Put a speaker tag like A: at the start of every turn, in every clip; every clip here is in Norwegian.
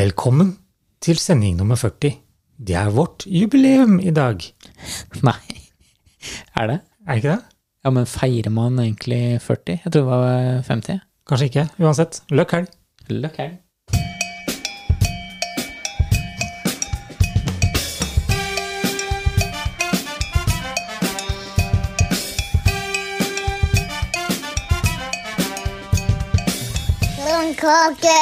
A: Velkommen til sending nummer 40. Det er vårt jubileum i dag.
B: Nei. Er det?
A: Er det ikke det?
B: Ja, men feirer man egentlig 40? Jeg tror det var 50.
A: Kanskje ikke. Uansett, løkk helg.
B: Løkkeren.
C: Blomkake!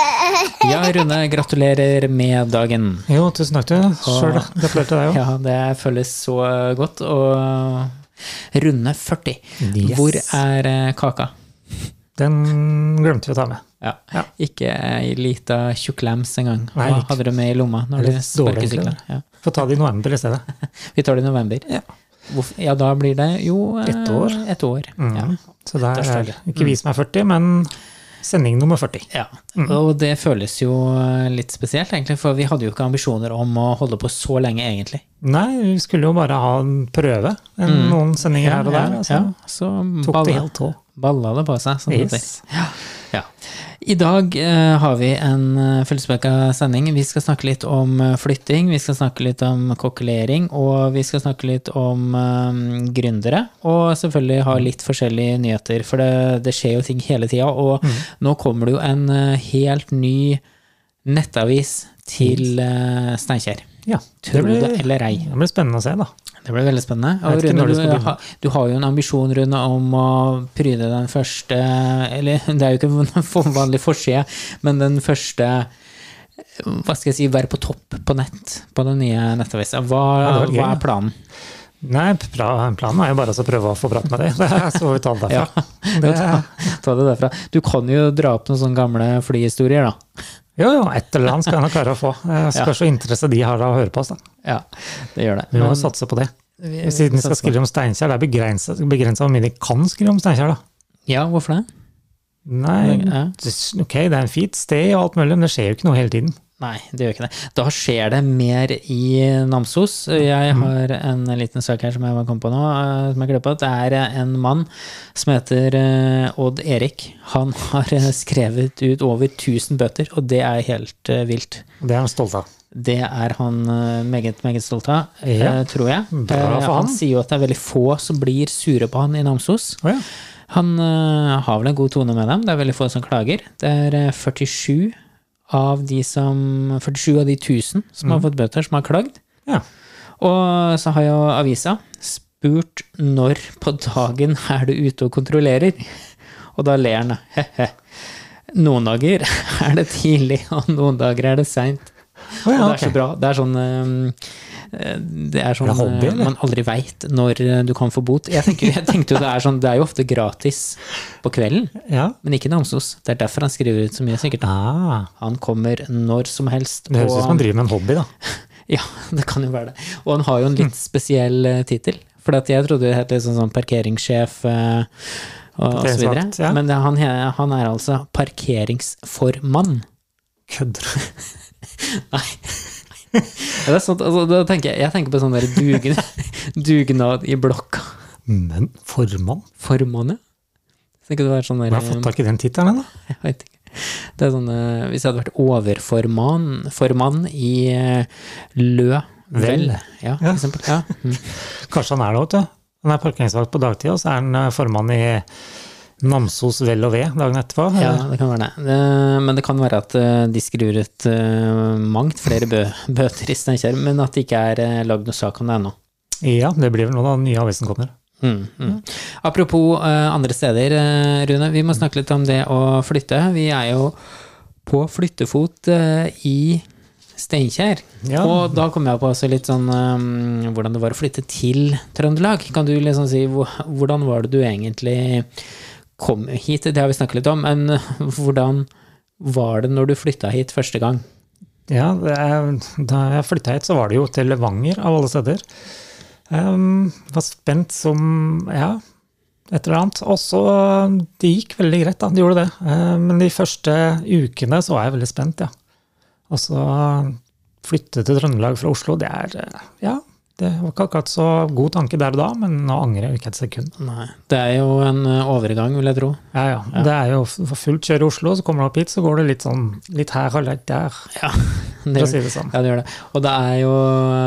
B: Ja, Rune, gratulerer med dagen.
A: Jo, tusen takk, du. Sjøl gratulerer til deg òg.
B: Ja, det føles så godt. Og runde 40.
A: Yes.
B: Hvor er eh, kaka?
A: Den glemte vi å ta med.
B: Ja.
A: Ja.
B: Ikke ei lita tjukklems engang.
A: Nei,
B: Hva
A: ikke.
B: hadde du med i lomma når
A: Det er
B: du
A: litt dårlig, egentlig,
B: sparkesykla? Ja.
A: Få ta det i november i stedet.
B: Vi tar det i november.
A: Ja.
B: Hvorf- ja, da blir det jo eh,
A: Ett år.
B: Et år.
A: Mm.
B: Ja.
A: Så det
B: Ettårsdag.
A: er ikke
B: Mm.
A: vi som er 40, men sending nummer 40.
B: Ja, og det føles jo eh, litt spesielt, egentlig, for vi hadde jo ikke ambisjoner om å holde på så lenge, egentlig.
A: Nei, vi skulle jo bare ha en prøve. En, Noen sendinger her og der. altså. og
B: Mm. ja,
A: så
B: så
A: Tok det
B: balla,
A: helt av.
B: balla det på seg. Sånn
A: Yes.
B: yes. ja. I dag eh, har vi en uh, fullspekka sending. Vi skal snakke litt om eh, flytting, vi skal snakke litt om kokkelering, og vi skal snakke litt om eh, gründere. Og selvfølgelig ha litt forskjellige nyheter, for det, det skjer jo ting hele tida. Og
A: Mm.
B: nå kommer det jo en eh, helt ny nettavis til uh, Steinkjer.
A: Ja, det
B: Tror du det
A: blir,
B: eller ei.
A: det blir spennende å se, da.
B: Det blir veldig spennende.
A: Jeg
B: Og
A: vet ikke
B: Rune,
A: når det
B: du,
A: skal begynne.
B: ha, du har jo en ambisjon, Rune, om å pryde den første Eller det er jo ikke en for- vanlig forside, men den første Hva skal jeg si, være på topp på nett på den nye nettavisa. Hva,
A: Ja, det var gøy,
B: hva
A: ja.
B: er planen?
A: Nei, pra- planen er jo bare altså å prøve å få prat med deg. Det er så vi tar det
B: Ja.
A: derfra. Det-
B: Ta det derfra. Du kan jo dra opp noen sånne gamle flyhistorier, da.
A: Jo, jo, et eller annet skal jeg nok klare å få. Eh, Jeg skal se interesse de har av å høre på oss. da.
B: Ja, det gjør det.
A: Vi må
B: Men-
A: jo satse på det. Siden vi skal
B: satser på
A: skrive om Steinkjer, det er begrenset begrenset hvor mye de kan skrive om Steinkjer, da.
B: Ja, hvorfor det?
A: Nei,
B: Ja.
A: det- ok, det er en fint sted og alt mulig, men det skjer jo ikke noe hele tiden.
B: Nei, det gjør ikke det. Da skjer det mer i Namsos. Jeg
A: Mm.
B: har en liten sak her som jeg kom på nå, eh, som jeg gleder på. Det er eh, en mann som heter eh, Odd Erik. Han har eh, skrevet ut over 1000 bøter, og det er helt eh, vilt.
A: Og Det er jeg stolt av.
B: Det er han eh, meget, meget stolt av, eh,
A: Ja.
B: tror jeg.
A: Bra
B: Eh,
A: for han.
B: Han sier jo at det er veldig få som blir sure på han i Namsos.
A: Å ja.
B: Han eh, har vel en god tone med dem. Det er veldig få som klager. Det er eh, 47 av de som 47 av de 1000 som har fått bøter, som har klagd.
A: ja.
B: Og så har jo avisa spurt når på dagen er du ute og kontrollerer? Og da ler han. «Hehe. Noen dager er det tidlig, og noen dager er det seint.
A: Å ja,
B: Og det er
A: ok.
B: så bra. Det er sånn eh, det er sånn
A: Er det hobby,
B: eh,
A: eller?
B: man aldri veit når eh, du kan få bot. Jeg, tenker, jeg tenkte jo det er sånn, det er jo ofte gratis på kvelden,
A: Ja.
B: men ikke i Namsos. Det er derfor han skriver ut så mye, sikkert.
A: Ah,
B: Han kommer når som helst.
A: det høres ut som han
B: på-
A: driver med en hobby, da.
B: Ja, det kan jo være det. Og han har jo en litt
A: Hmm.
B: spesiell eh, tittel. For at jeg trodde det het litt sånn, sånn parkeringssjef eh, og, og så videre.
A: Parkeringsvakt, ja.
B: Men det, han, he- han er altså parkeringsformann.
A: Kødder du?
B: Ja, det er sant, altså, da tenker jeg, jeg tenker på sånn der dugnad, dugnad i blokka.
A: Men formann?
B: Formann, ja. Så tenker du det er sånn der, eh,
A: Hvor har jeg fått tak i den tittelen, da?
B: jeg vet ikke. Det er sånn, eh, hvis jeg hadde vært overformann formann i eh, Lø
A: Vel.
B: Ja,
A: Ja.
B: for eksempel. Ja. Mm.
A: Kanskje han er det, vet du. Han er parkeringsvakt på dagtid, og så er han eh, formann i Namsos Vel og Ved dagen etterpå.
B: Ja,
A: eller?
B: det kan være det. det. Men det kan være at eh, de skriver ut eh, mangt flere bø bøter i Steinkjer, men at det ikke er eh, lagd noe sak om det ennå.
A: ja, det blir vel nå da den nye avisen kommer.
B: Mm, mm. Apropos eh, andre steder, eh, Rune. Vi må snakke litt om det å flytte. Vi er jo på flyttefot eh, i Steinkjer.
A: Ja.
B: Og da kom jeg på også litt sånn eh, hvordan det var å flytte til Trøndelag. Kan du liksom si hvor- hvordan var det du egentlig kom hit? Det har vi snakket litt om, men eh, hvordan var det når du flytta hit første gang?
A: Ja, det er, da jeg flytta hit, så var det jo til Levanger, av alle steder. Um, var spent som ja, et eller annet. Og så Det gikk veldig greit, da. Det gjorde det. Eh, men de første ukene så var jeg veldig spent, ja. Og så flytte til Trøndelag fra Oslo, det er eh, Ja, Det var ikke akkurat så god tanke der og da, men nå angrer jeg ikke et sekund.
B: Nei. Det er jo en eh, overgang, vil jeg tro.
A: Ja, ja. Det er jo f- for fullt kjør i Oslo, så kommer du opp hit, så går det litt sånn litt her og litt der,
B: Ja,
A: for
B: det
A: å
B: gjør det.
A: si det sånn.
B: Ja, det gjør det. Og det er jo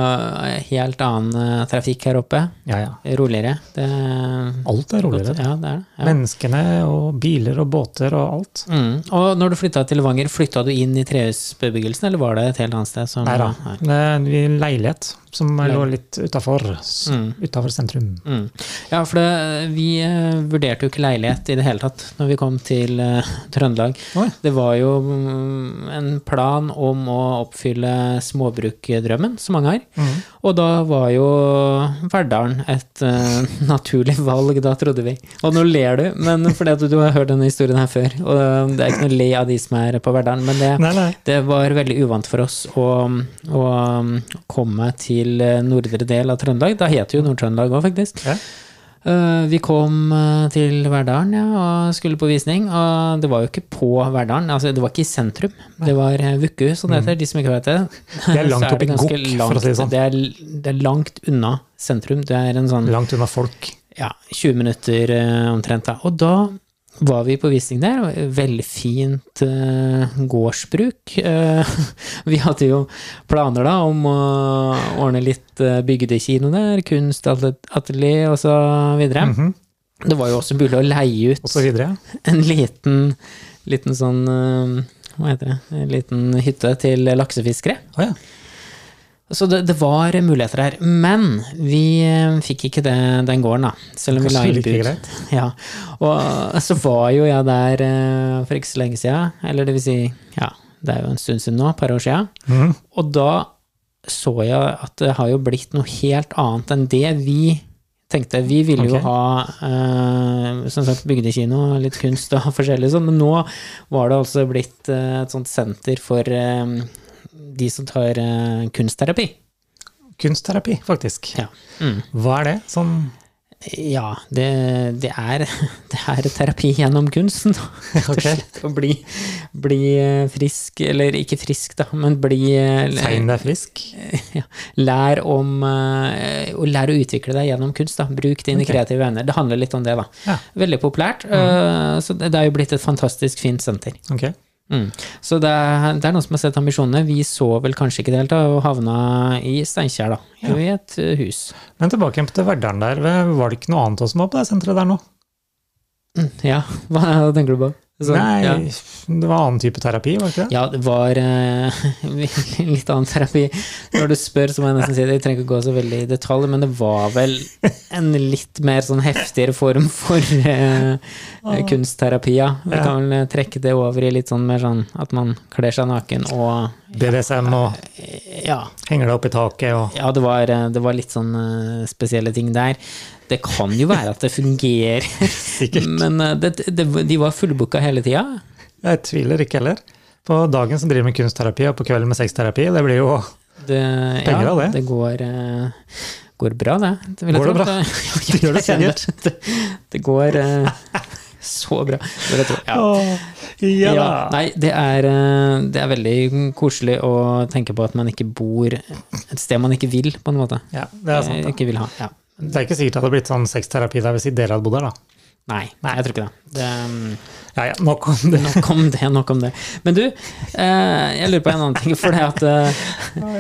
B: eh, helt annen eh, trafikk her oppe.
A: Ja, ja.
B: Roligere. Det er
A: Alt er roligere.
B: Ja, det er det. Ja.
A: Menneskene og biler og båter og alt.
B: Mm. Og når du flytta til Levanger, flytta du inn i trehusbebyggelsen, eller var det et helt annet sted? Som,
A: Mm, Nei da. Det er en leilighet som lå litt utafor
B: Mm.
A: sentrum.
B: Mm. Ja, for det, vi eh, vurderte jo ikke leilighet i det hele tatt når vi kom til eh, Trøndelag.
A: Oi.
B: Det var jo mm, en plan om å oppfylle småbrukdrømmen som mange har.
A: Mm.
B: Og da var jo Verdalen et eh, naturlig valg, da trodde vi. Og nå ler du, men fordi at du har hørt denne historien her før. Og eh, det er ikke noe le av de som er på Verdalen, men det,
A: Nei, nei.
B: det var veldig uvant for oss å, å mm, komme til eh, nordre del av Trøndelag. Da het det jo Nord-Trøndelag òg, faktisk.
A: Ja.
B: Eh, Vi kom eh, til Verdalen ja, og skulle på visning. Og det var jo ikke på Verdalen, altså, det var ikke i sentrum. Det var eh, Vukku, som det heter. De som ikke vet det.
A: Mm. Det er langt
B: Så
A: opp i
B: ganske
A: Gokk, for å si det sånn.
B: langt- Det er, det er langt unna sentrum. Det er en sånn
A: Langt unna folk.
B: ja, 20 minutter eh, omtrent da. Og da var vi på visning der, og veldig fint eh, gårdsbruk. Eh, vi hadde jo planer da om å ordne litt eh, bygdekino der, kunstatelier og så videre.
A: Mhm.
B: Det var jo også mulig å leie
A: Og
B: ut
A: så videre.
B: en liten, liten sånn eh, hva heter det? En liten hytte til laksefiskere.
A: Å ja.
B: Så det, det var muligheter her. Men vi eh, fikk ikke det, den gården, da. Selv om vi la
A: Kanskje
B: inn
A: like
B: bud.
A: greit.
B: Ja. Og så var jo jeg der eh, for ikke så lenge siden. Eller det vil si, ja, det er jo en stund siden nå, et par år siden.
A: Mhm.
B: Og da så jeg at det har jo blitt noe helt annet enn det vi tenkte. Vi ville jo
A: Ok.
B: ha eh, som sagt bygdekino, litt kunst og forskjellig sånn, men nå var det altså blitt eh, et sånt senter for eh, de som tar eh, kunstterapi.
A: Kunstterapi, faktisk.
B: Ja. Mm.
A: Hva er det? Sånn
B: Ja, det, det, er, det er terapi gjennom kunsten. Rett og
A: Ok.
B: slett Å bli, bli eh, frisk, eller ikke frisk, da, men bli eh,
A: tegn deg frisk?
B: ja, lær om eh, å lære å utvikle deg gjennom kunst. Da. Bruk dine
A: Ok.
B: kreative evner. Det handler litt om det, da.
A: Ja. Mm.
B: Veldig populært. eh, så det, det er jo blitt et fantastisk fint senter.
A: Ok.
B: Mm. Så det er, det er noen som har sett ambisjonene. Vi så vel kanskje ikke det helt, da, og havna i Steinkjer, da.
A: Ja.
B: I et eh, hus.
A: Men tilbake igjen til Verdalen der. Var det ikke noe annet også som var på det senteret der nå?
B: Ja, hva tenker du på? Så-
A: Nei,
B: ja.
A: det var annen type terapi, var det ikke det?
B: Ja, det var eh, litt annen terapi. Når du spør, så må jeg nesten si det. Jeg trenger ikke gå så veldig i detalj, men det var vel en litt mer sånn heftigere form for eh, kunstterapi, ja. Vi
A: Ja.
B: kan vel trekke det over i litt sånn mer sånn at man kler seg naken og
A: BDSM og
B: Ja.
A: henger deg opp i taket og
B: Ja, det var, eh, det var litt sånn eh, spesielle ting der. Det kan jo være at det fungerer,
A: Sikkert.
B: men eh, det, det, de var fullbooka hele tida.
A: Jeg tviler ikke heller. På dagen så driver vi med kunstterapi, og på kvelden med sexterapi. Det blir jo
B: Det,
A: Penger
B: ja,
A: av det.
B: det går, eh, går bra, det. det vil jeg
A: Går det
B: tro.
A: bra?
B: Det,
A: Det gjør det
B: Jeg kjenner Det, det går eh, så bra, det vil jeg tro. Ja.
A: Åh, ja da!
B: Ja, nei, det er, eh, det er veldig koselig å tenke på at man ikke bor et sted man ikke vil, på en måte. Eh,
A: Ja, det er sant.
B: Ikke vil ha. Ja.
A: Da. Det er ikke sikkert det hadde blitt sånn sexterapi der hvis ikke dere hadde bodd der, da.
B: Nei, nei, jeg tror ikke det. det mm,
A: Ja ja, nok om det.
B: nok om det, nok om det. Men du, eh, jeg lurer på en annen ting. For det at eh,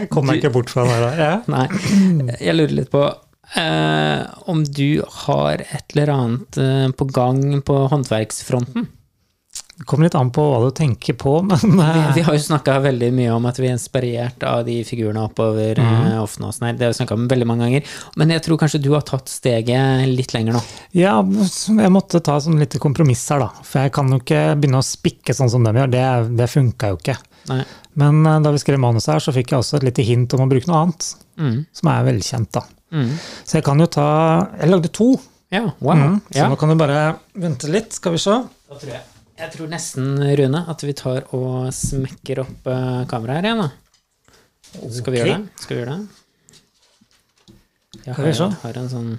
A: Jeg kommer ikke bort fra det der. Ja.
B: Nei.
A: Mm.
B: Jeg lurer litt på eh, om du har et eller annet eh, på gang på håndverksfronten?
A: Det kommer litt an på hva du tenker på, men
B: Vi,
A: eh,
B: vi har jo snakka veldig mye om at vi er inspirert av de figurene oppover mm. Oftenåsen her. Det har vi snakka om veldig mange ganger. Men jeg tror kanskje du har tatt steget litt lenger nå.
A: ja, jeg måtte ta sånn litt kompromiss her, da. For jeg kan jo ikke begynne å spikke sånn som de gjør. Det, det funka jo ikke.
B: Nei.
A: Men eh, da vi skrev manuset her, så fikk jeg også et lite hint om å bruke noe annet,
B: Mm.
A: som er velkjent, da.
B: Mm.
A: Så jeg kan jo ta Jeg lagde to,
B: Ja, wow.
A: mm, så
B: ja.
A: nå kan du bare vente litt, skal vi se.
B: Da tror jeg. jeg tror nesten, Rune, at vi tar og smekker opp eh, kameraet her igjen, da. Skal vi gjøre
A: Ok.
B: det? Skal vi gjøre det? Jeg
A: Skal vi
B: har,
A: se?
B: har en sånn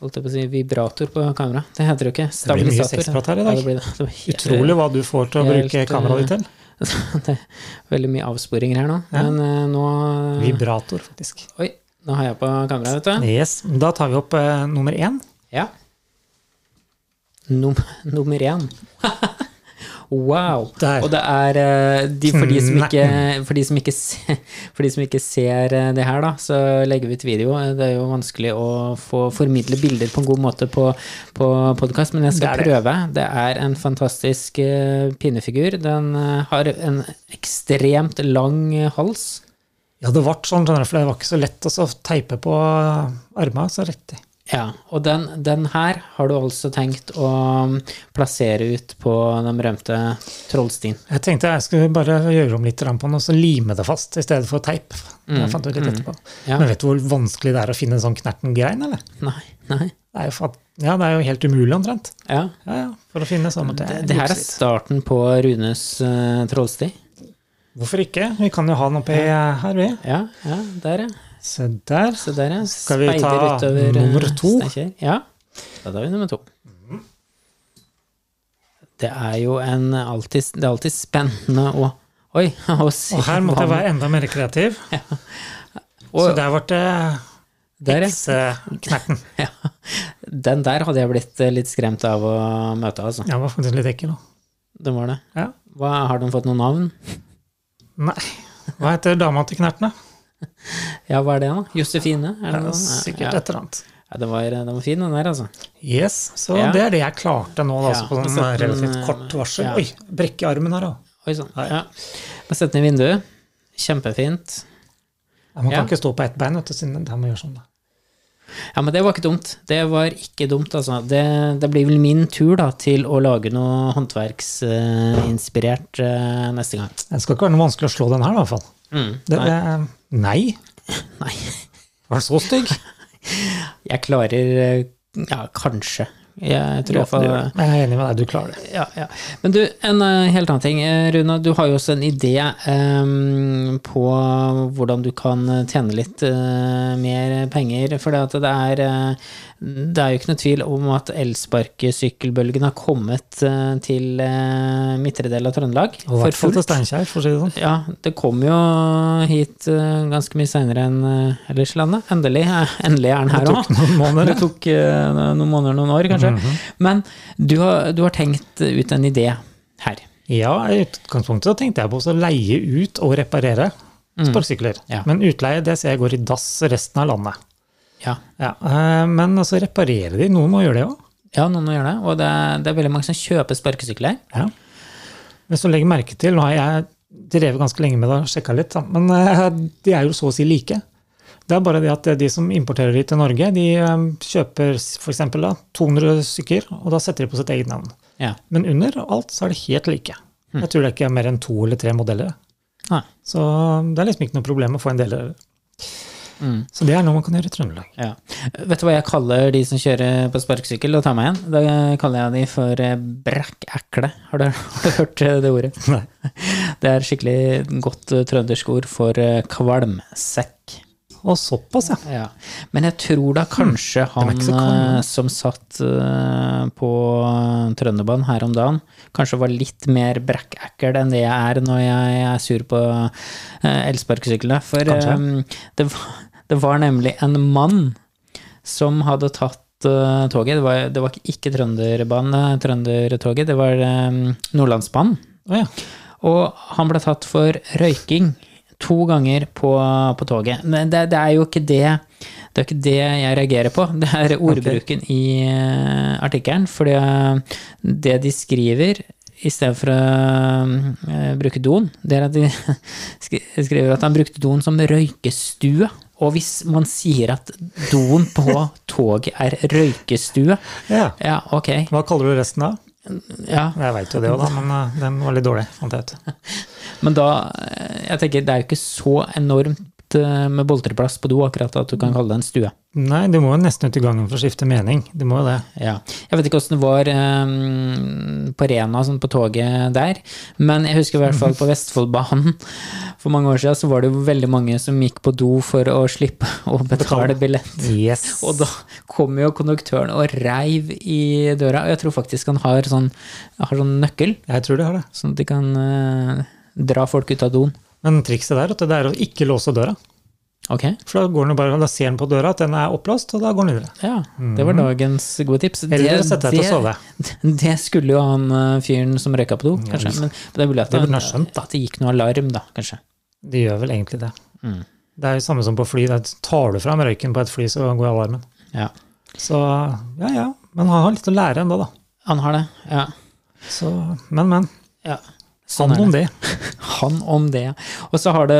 B: holdt jeg på å si, vibrator på kamera. Det heter det jo ikke.
A: Det blir mye
B: Stabilisator.
A: sexprat her i dag.
B: Ja, det blir det. Det var helt-
A: Utrolig hva du får til å
B: Helt,
A: bruke kameraet ditt til.
B: Det er veldig mye avsporinger her nå.
A: Ja.
B: Men eh, nå
A: Vibrator, faktisk.
B: Oi, Nå har jeg på kamera, vet du.
A: Yes. Da tar vi opp eh, nummer én.
B: Ja. Num nummer én. wow.
A: Der.
B: Og det er eh, de, for, de som ikke, for, de som ikke se, for de som ikke ser eh, det her, da, så legger vi ut video. Eh, Det er jo vanskelig å få formidle bilder på en god måte på, på podkast, men jeg skal
A: Det er
B: prøve. Det er en fantastisk eh, pinnefigur. Den eh, har en ekstremt lang eh, hals.
A: Ja, det ble sånn, skjønner du, for det var ikke så lett å så teipe på armene så riktig.
B: Ja, og den, den her har du altså tenkt å um, plassere ut på den berømte Trollstien.
A: Jeg tenkte jeg skulle bare gjøre om litt på den og så lime det fast i stedet for teip. Det
B: Mm,
A: fant jeg ut litt etterpå.
B: Ja.
A: Men vet du hvor vanskelig det er å finne en sånn knerten-grein, eller?
B: Nei, nei.
A: Det er jo, fatt- ja, det er jo helt umulig, omtrent.
B: Ja.
A: Ja, ja, for å finne sånn at
B: Det,
A: det,
B: det her er
A: jukser litt.
B: starten på Runes eh, Trollsti.
A: Hvorfor ikke? Vi kan jo ha den oppi eh, her, vi.
B: Ja, ja, der, ja.
A: Se der.
B: Så der, ja.
A: Skal vi
B: Speider
A: ta
B: utover, eh,
A: nummer to?
B: Steinkjer. Ja. Da tar vi nummer to. Det er jo en alltid, Det er alltid spennende å Oi! Å se
A: Og her måtte jeg være enda mer kreativ. Så
B: Og,
A: der ble det
B: der, ja.
A: hekseknerten.
B: ja. Den der hadde jeg blitt eh, litt skremt av å møte, altså.
A: Den var faktisk litt ekkel. da.
B: Den var det.
A: Ja.
B: Hva, har de fått noe navn?
A: Nei. Hva heter dama til knerten, da?
B: Ja, hva er det, da? Josefine? Er
A: Det
B: det
A: er
B: noe?
A: Sikkert
B: Ja.
A: et eller annet.
B: Ja, den var, den var fin, den der, altså.
A: Yes, så
B: Ja.
A: det er det jeg klarte nå, da,
B: Ja,
A: altså, på
B: og
A: sånn
B: sette den,
A: relativt
B: eh,
A: kort varsel.
B: ja.
A: Oi, brekke armen her, da.
B: Oi sann.
A: Nei.
B: Ja. Bare Sett den i vinduet. Kjempefint.
A: Ja, man
B: Ja.
A: kan ikke stå på ett bein, vet du, siden det må gjøre sånn. Da.
B: Ja, men det var ikke dumt. Det var ikke dumt, altså. Det, det blir vel min tur da, til å lage noe håndverksinspirert eh, neste gang.
A: Det skal ikke være noe vanskelig å slå den her, i hvert fall.
B: Mm.
A: Det,
B: Nei.
A: nei. nei.
B: Nei.
A: Var den så stygg?
B: Jeg klarer eh, Ja, kanskje. Jeg tror i hvert fall
A: Men Jeg er enig med deg, du klarer det.
B: ja, ja. Men du, en eh, helt annen ting. Eh, Runa, du har jo også en idé eh, på hvordan du kan tjene litt eh, mer penger. For det, at det, er, eh, det er jo ikke noe tvil om at elsparkesykkelbølgen har kommet eh, til eh, midtre del av Trøndelag.
A: Og i hvert fall
B: fullt.
A: til Steinkjer, for å si det sånn.
B: Ja, det kom jo hit eh, ganske mye seinere enn eh, ellers i landet. Endelig, eh, endelig er den her òg.
A: Noen måneder. Mhm.
B: Det tok eh, noen måneder, noen år kanskje. Men du har, du har tenkt ut en idé her.
A: Ja, i utgangspunktet så tenkte jeg på å leie ut og reparere sparkesykler.
B: Ja.
A: Men utleie, det ser jeg går i dass resten av landet.
B: Ja,
A: Ja, eh, men altså reparere de, noen må gjøre det òg.
B: ja noen må gjøre det. Og det er, det er veldig mange som kjøper sparkesykler.
A: Ja. Hvis du legger merke til, nå har jeg drevet ganske lenge med det og sjekka litt, da, men eh, de er jo så å si like. Det er bare det at de som importerer de til Norge, de eh, kjøper f.eks. 200 stykker, og da setter de på sitt eget navn.
B: Ja.
A: Men under alt så er de helt like. Jeg tror det ikke er mer enn to eller tre modeller.
B: Nei.
A: Så det er liksom ikke noe problem å få en del.
B: Mm.
A: Så det er noe man kan gjøre i Trøndelag.
B: Ja. Vet du hva jeg kaller de som kjører på sparkesykkel og tar meg igjen? Da kaller jeg de for eh, brakkekle. Har, du- har du hørt eh, det ordet?
A: Nei.
B: Det er skikkelig godt eh, trøndersk ord for eh, kvalmsekk.
A: Og såpass, ja.
B: Ja. Men jeg tror da kanskje han
A: Hmm. ikke så kalde.
B: eh, som satt eh, på eh, Trønderbanen her om dagen, kanskje var litt mer brakkekkel enn det jeg er når jeg er sur på eh, elsparkesyklene. For eh, det, var, det var nemlig en mann som hadde tatt eh, toget. Det var, det var ikke Trønderbanen, eh, Trøndertoget, det var eh, Nordlandsbanen.
A: Å, ja.
B: Og han ble tatt for røyking to ganger på, på toget. Men det, det er jo ikke det, det er ikke det jeg reagerer på. Det er ordbruken i eh, artikkelen. For det de skriver i stedet for å eh, bruke doen, det er at de skri- skriver at han brukte doen som røykestue. Og hvis man sier at doen på toget er røykestue,
A: ja.
B: ja, ok.
A: Hva kaller du resten da?
B: Ja,
A: Jeg veit jo det òg, da, men eh, den var litt dårlig, fant jeg ut.
B: Men da, eh, jeg tenker, det er jo ikke så enormt eh, med boltreplass på do akkurat at du kan kalle det en stue.
A: Nei, du må jo nesten ut i gangen for å skifte mening. Du må jo det.
B: Ja. Jeg vet ikke åssen det var eh, på Rena, sånn på toget der, men jeg husker i hvert fall på Vestfoldbanen for mange år siden, så var det jo veldig mange som gikk på do for å slippe å betale billett.
A: Yes.
B: Og da kommer jo konduktøren og reiv i døra, og jeg tror faktisk han har sånn, har sånn nøkkel,
A: Jeg tror de har det.
B: sånn at de kan eh, dra folk ut av doen.
A: Men trikset der vet du, det er å ikke låse døra.
B: Ok,
A: For da, går den jo bare, da ser den på døra at den er opplåst, og da går den videre.
B: ja. Det var dagens gode tips.
A: Mhm. Eller sette deg til å sove.
B: det skulle jo han eh, fyren som røyka på do, kanskje. Men, men det er mulig at,
A: Det burde
B: han-
A: han ha skjønt, da.
B: at det gikk noe alarm, da, kanskje.
A: De gjør vel egentlig det.
B: Mm.
A: Det er jo samme som på fly. Da tar du fram røyken på et fly, så går alarmen.
B: Ja.
A: Så ja, ja. Men han har litt å lære ennå, da.
B: Han har det. Ja.
A: Så, men, men.
B: ja.
A: Sånn
B: er
A: om det.
B: Han om det. Og så har det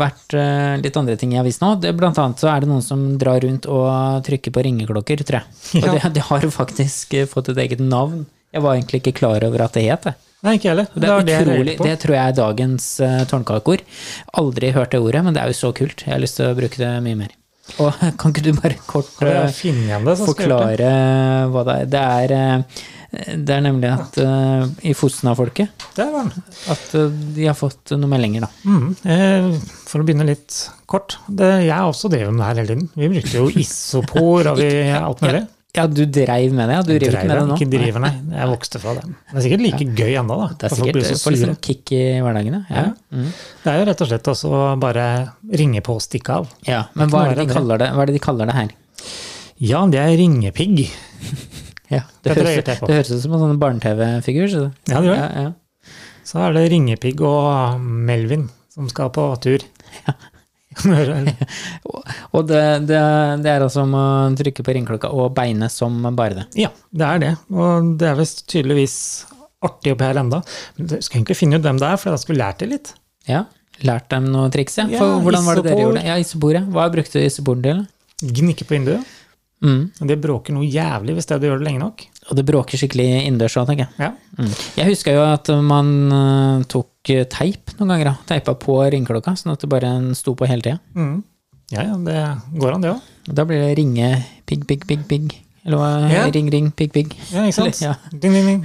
B: vært eh, litt andre ting i avisen òg. Blant annet så er det noen som drar rundt og trykker på ringeklokker, tror jeg. Og
A: Ja.
B: det, det har faktisk eh, fått et eget navn. Jeg var egentlig ikke klar over at det het det.
A: Nei, ikke jeg heller.
B: Det, er
A: jeg
B: utrolig,
A: reagerte på.
B: det tror jeg er dagens uh, tårnkakeord. Aldri hørt det ordet, men det er jo så kult. Jeg har lyst til å bruke det mye mer. Og kan ikke du bare kort
A: Har
B: eh,
A: jeg funnet igjen det, så altså, skal jeg gjøre det.
B: forklare hva det er? Det er, eh, det er nemlig at eh, i Fosna-folket
A: Der var den.
B: at eh, de har fått noen meldinger, da.
A: Mm, eh, for å begynne litt kort. Det, jeg har også drevet med det her hele tiden. Vi brukte jo isopor og vi, alt mulig.
B: Ja, du dreiv med det? ja. Du driver ikke
A: Dreiv
B: med det
A: jeg,
B: nå?
A: Ikke driver, nei. Jeg vokste fra det. Det er sikkert like gøy ennå, da.
B: Det er
A: For Altså, folk
B: sikkert
A: blir så
B: får litt
A: sure.
B: sånn kick i hverdagen, ja.
A: Ja.
B: Ja. Mm.
A: Det er jo rett og slett også å bare ringe på og stikke av.
B: ja. Men
A: Ikke
B: hva
A: noe
B: er, det
A: verre enn
B: de
A: det.
B: kaller det? hva er det de kaller det her?
A: Ja, det er ringepigg.
B: Ja, det,
A: Dette har jeg
B: høres,
A: gjort jeg på.
B: det høres ut som en sånn barne-TV-figur. så det-
A: Ja, det gjør det.
B: Ja, ja.
A: Så er det ringepigg og um, Melvin som skal på tur.
B: Og det, det, det er altså om å trykke på ringklokka og beine som bare det.
A: ja, det er det. Og det er visst tydeligvis artig oppi her enda. Men jeg skulle egentlig finne ut hvem det er, for jeg skulle lært det litt.
B: Ja, Lært dem noen triks, ja.
A: Ja,
B: For hvordan var det dere
A: isopor.
B: gjorde det? Ja, Isopor, ja. Hva brukte du isoporen til?
A: Gnikke på vinduet.
B: Mm.
A: og Det bråker noe jævlig hvis det du gjør det lenge nok.
B: Og det bråker skikkelig innendørs òg, tenker jeg.
A: Ja.
B: Mm. Jeg huska jo at man eh, tok eh, teip noen ganger. da. Teipa på ringeklokka, sånn at det bare sto på hele tida.
A: Mm. ja, ja, det går an det òg.
B: Og da blir det ringe pigg, pigg, pigg, pigg. Eller hva?
A: Ja.
B: Ring, ring, pigg, pigg.
A: Ja, ikke sant?
B: Eller,
A: Ding, ding, ding.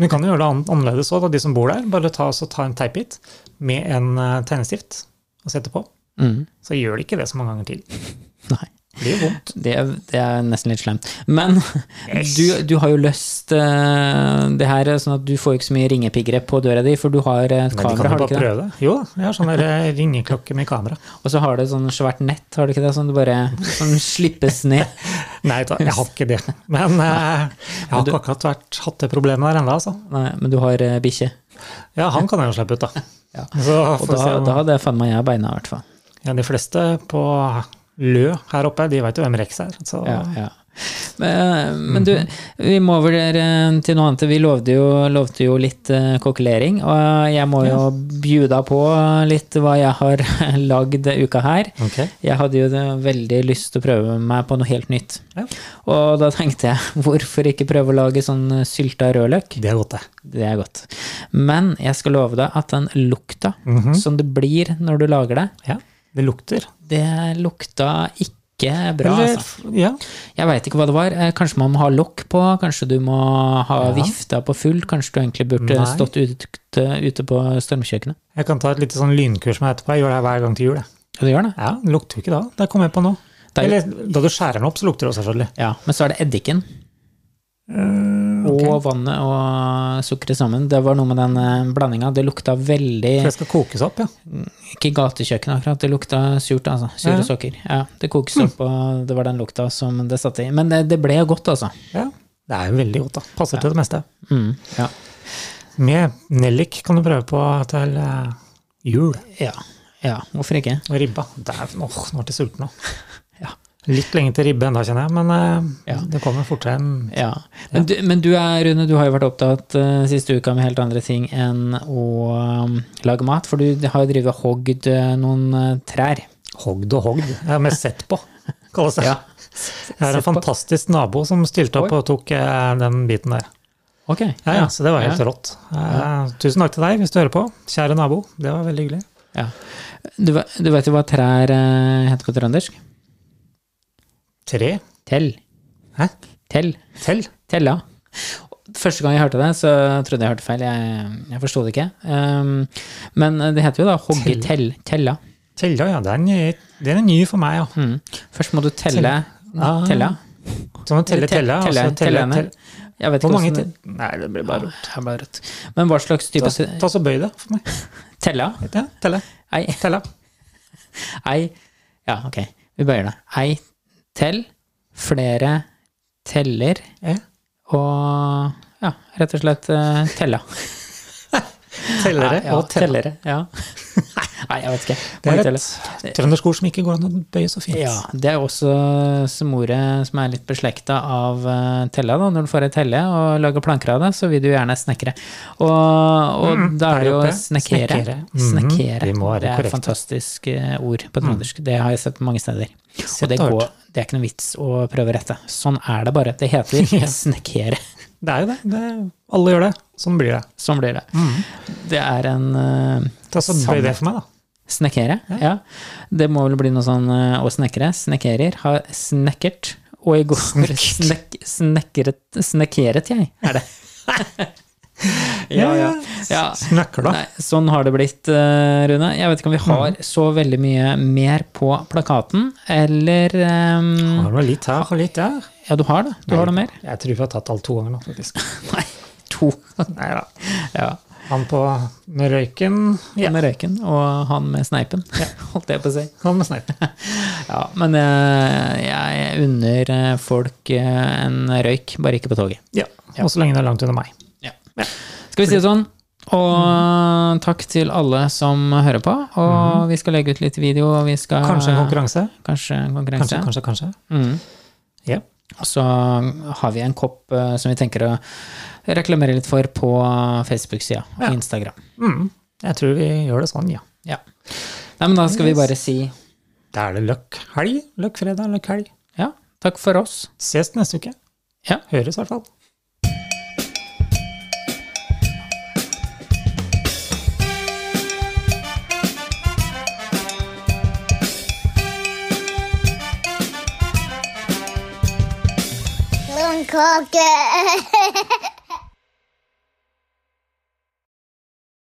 A: Men du kan jo gjøre det an- annerledes òg, de som bor der. Bare ta, så ta en teipbit med en eh, tegnestift og sette på.
B: Mm.
A: Så gjør de ikke det så mange ganger til.
B: Nei.
A: Det blir jo vondt.
B: Det, er- det er nesten litt slemt. Men
A: Yes.
B: du, du har jo løst eh, det her, sånn at du får ikke så mye ringepiggere på døra di, for du har eh,
A: Men
B: et
A: de kan jo
B: kamera, har
A: bare
B: du ikke det?
A: prøve det. Jo da, jeg har sånn der eh, ringeklokke med kamera.
B: Og så har du sånn svært nett, har du ikke det? Sånn du bare som slippes ned.
A: Nei, da, jeg har ikke det. Men eh, jeg har ikke akkurat vært, hatt det problemet der ennå, altså.
B: Nei, men du har eh, bikkje.
A: Ja, han kan jeg jo slippe ut, da.
B: Ja.
A: Så
B: Og
A: får vi se
B: da,
A: om-
B: da hadde jeg faen meg jeg beina, i hvert fall.
A: ja, de fleste på Lø her oppe, de veit jo hvem Rex er. Så
B: Ja, ja. Men, men du, vi må over der eh, til noe annet. Vi lovde jo, lovde jo litt eh, kokkelering, og jeg må jo bjuda på litt hva jeg har lagd uka her.
A: ok.
B: Jeg hadde jo det- veldig lyst til å prøve meg på noe helt nytt.
A: Ja.
B: Og da tenkte jeg, hvorfor ikke prøve å lage sånn sylta rødløk?
A: Det er godt, det.
B: Det er godt. Men jeg skal love deg at den lukta
A: Mhm.
B: som det blir når du lager det,
A: Ja, det lukter.
B: det lukta ikke bra.
A: Eller-
B: Altså.
A: Ja,
B: Jeg veit ikke hva det var. Eh, Kanskje man må ha lokk på, kanskje du må ha
A: Ja.
B: vifta på fullt, kanskje du egentlig burde
A: Nei.
B: stått ute, ute på stormkjøkkenet.
A: jeg kan ta et lite sånn lynkurs med etterpå. Jeg gjør det her hver gang til jul. jeg.
B: Ja, du gjør det.
A: Ja, det lukter jo ikke da. Det kommer jeg på nå.
B: Det er-
A: Eller da du skjærer den opp, så lukter det også, selvfølgelig.
B: Ja, men så er det eddiken.
A: Eh,
B: Og vannet og sukkeret sammen. Det var noe med den blandinga. Det lukta veldig
A: For det skal kokes opp, ja.
B: Ikke gatekjøkken akkurat, det lukta surt, altså. Sure
A: Ja. Mm.
B: sokker. Ja, det kokes opp, og det var den lukta som det satte i. Men det, det ble godt, altså.
A: ja. Det er jo veldig godt, da. Passer til det meste.
B: Mm, ja.
A: Med nellik kan du prøve på til eh, jul.
B: ja. Ja, hvorfor ikke?
A: Og ribba. Dæven, åh, nå ble jeg sulten nå.
B: Ja.
A: Litt lenge til ribbe ennå, kjenner jeg, men eh,
B: Ja.
A: det kommer fortere enn
B: Ja. Men, Du, men du er, Rune, du har jo vært opptatt eh, siste uka med helt andre ting enn å um, lage mat, for du har jo drevet og hogd eh, noen eh, trær.
A: hogd og hogd. Jeg har mest sett på, kalles det.
B: Ja.
A: Jeg har en
B: Sett på.
A: fantastisk nabo som stilte opp
B: Oi.
A: og tok eh, den biten der.
B: Ok.
A: Ja, ja, så det var helt rått. Eh, Tusen takk til deg hvis du hører på, kjære nabo. Det var veldig hyggelig.
B: Ja. Du, ve- du vet jo hva trær eh, heter på trøndersk?
A: Tre.
B: Tell.
A: Hæ?
B: Tell.
A: Tell.
B: Tella. Første gang jeg hørte det, så trodde jeg hørte feil. Jeg, jeg forsto det ikke. Um, men det heter jo da hogge
A: Telle.
B: tell. Tella.
A: Tella, ja. Det er, ny, det er en ny for meg, ja.
B: Mm. Først må du telle
A: Ah.
B: tella.
A: Så man teller
B: Eller te-
A: tella, og
B: telle-
A: så teller
B: tellene.
A: tell-
B: Jeg vet
A: Hvor
B: ikke
A: mange
B: hvordan-
A: til? Nei, det blir bare
B: Ja, det er bare rødt. Men hva slags type
A: Ta, ta så bøy det for meg.
B: Tella?
A: Ja, telle.
B: Ei.
A: Tella.
B: Ei. Ja, ok. Vi bøyer det. Ei tell, flere teller
A: Ja.
B: og ja, rett og slett eh, tella.
A: Tellere
B: ja,
A: og tellere.
B: Ja. Nei, jeg vet ikke.
A: Det
B: Mange
A: er
B: teller.
A: et trøndersk ord som ikke går an å bøye så fint.
B: Ja, det er også som ordet som er litt beslekta av eh, tella. da, Når du får ei telle og lager planker av det, så vil du gjerne snekre. Og, og da er
A: der
B: det jo
A: oppe.
B: snekkere.
A: Snekkere. Mhm,
B: Snekkere.
A: vi må være
B: Det er
A: korrekte.
B: et fantastisk eh, ord på
A: Mm.
B: trøndersk. Det har jeg sett mange steder.
A: Sett
B: Og det,
A: og
B: går,
A: hørt.
B: det er ikke noe vits å prøve å rette. Sånn er det bare. Det heter snekkere.
A: Det er jo det. det alle gjør det. Sånn blir det.
B: Sånn blir det.
A: Mm.
B: Det er en eh,
A: Ta så Bøy det for meg, da.
B: Snekkere, ja. Det må vel bli noe sånn eh, å snekre. Snekkerer. Har snekkert. Og i går snek, snekret, snekkeret jeg, er det. ja.
A: Snakker, da.
B: Nei, sånn har det blitt, eh, Rune. Jeg vet ikke om vi har så veldig mye mer på plakaten, eller eh,
A: Har du litt her og litt der?
B: Ja, du har det. Du har det mer?
A: Jeg tror vi har tatt alt to ganger nå, faktisk.
B: Nei, to.
A: Nei da.
B: ja.
A: Han på med røyken
B: Han med røyken, og han med sneipen, holdt jeg på å si.
A: Han med sneipen.
B: Ja, men eh, jeg unner eh, folk eh, en røyk, bare ikke på toget.
A: Ja. Og så lenge det er langt unna meg.
B: Skal vi si det sånn? Og takk til alle som hører på. Og vi skal legge ut litt video, og vi skal
A: Mhm. Kanskje en konkurranse?
B: Kanskje en konkurranse.
A: Kanskje, kanskje, kanskje.
B: Mm.
A: Ja.
B: Og så har vi en kopp eh, som vi tenker å reklamere litt for på Facebook-sida og
A: Ja.
B: Instagram.
A: Mm. Jeg tror vi gjør det sånn, ja.
B: Ja. Nei, men da skal vi bare si
A: Da er det løkk helg. Løkk fredag, løkk helg.
B: ja, takk for oss.
A: Ses neste uke.
B: Ja.
A: Høres i hvert fall.
C: Blomkake!